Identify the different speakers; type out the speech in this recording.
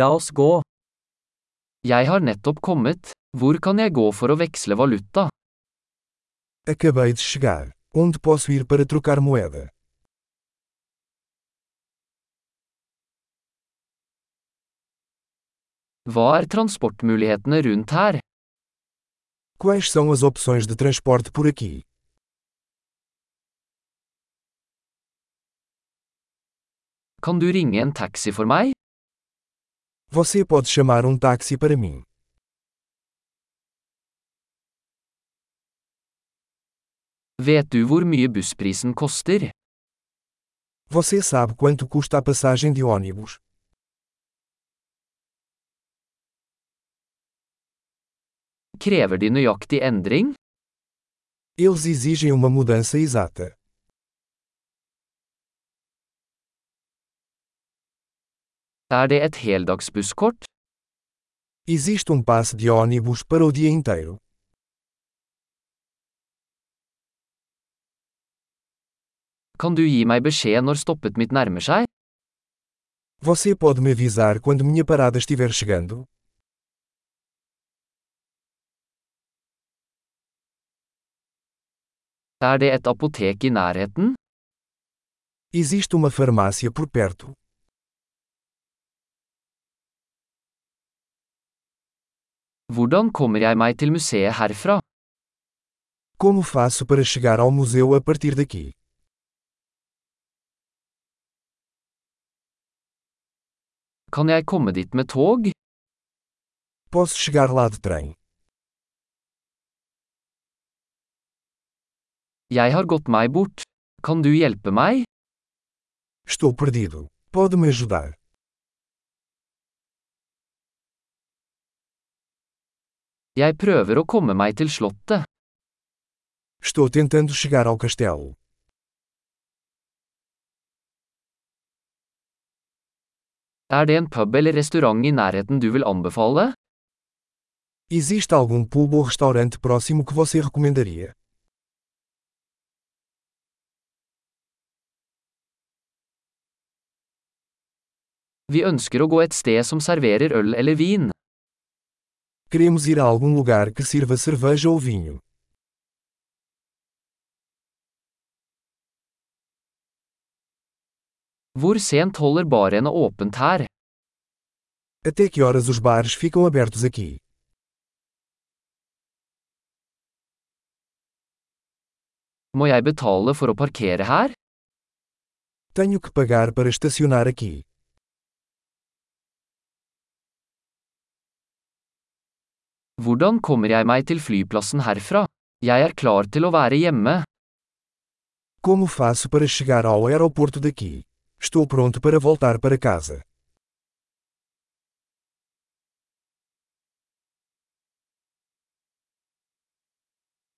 Speaker 1: La oss gå. Jeg har nettopp kommet. Hvor kan jeg gå for å veksle valuta?
Speaker 2: Acabei de chegar. Onde posso ir para trocar moeda?
Speaker 1: Hva er transportmulighetene rundt her?
Speaker 2: Quais são as opções de transporte por aqui?
Speaker 1: Kan du ringe en taxi for meg?
Speaker 2: Você pode chamar um táxi para mim.
Speaker 1: Vet du hvor mye bussprisen koster?
Speaker 2: Você sabe quanto custa a passagem de ônibus?
Speaker 1: Krever de nøyaktig endring?
Speaker 2: Eles exigem uma mudança exata.
Speaker 1: Er det et heldagsbusskort?
Speaker 2: Existe um passe de ônibus para o dia inteiro.
Speaker 1: Kan du gi meg beskjed når stoppet mitt nærmer seg?
Speaker 2: Você pode me avisar quando minha parada estiver chegando?
Speaker 1: Er det et apotek i nærheten?
Speaker 2: Existe uma farmácia por perto.
Speaker 1: Hvordan kommer jeg meg til museet herfra?
Speaker 2: Como faço para chegar ao museu a partir daqui?
Speaker 1: Kan jeg komme dit med tog?
Speaker 2: Posso chegar lá de trem.
Speaker 1: Jeg har gått meg bort. Kan du hjelpe meg?
Speaker 2: Estou perdido. Pode me ajudar?
Speaker 1: Jeg prøver å komme meg til slottet.
Speaker 2: Estou tentando chegar ao castelo.
Speaker 1: Er det en pub eller restaurant i nærheten du vil anbefale?
Speaker 2: Existe algum pub ou restaurante próximo que você recomendaria?
Speaker 1: Vi ønsker å gå et sted som serverer øl eller vin.
Speaker 2: Queremos ir a algum lugar que sirva cerveja ou vinho.
Speaker 1: Hvor sent holder barene åpent her?
Speaker 2: Até que horas os bares ficam abertos aqui?
Speaker 1: Må jeg betale for å parkere her?
Speaker 2: Tenho que pagar para estacionar aqui.
Speaker 1: Hvordan kommer jeg meg til flyplassen herfra? Jeg er klar til å være hjemme.
Speaker 2: Como faço para chegar ao aeroporto daqui? Estou pronto para voltar para casa.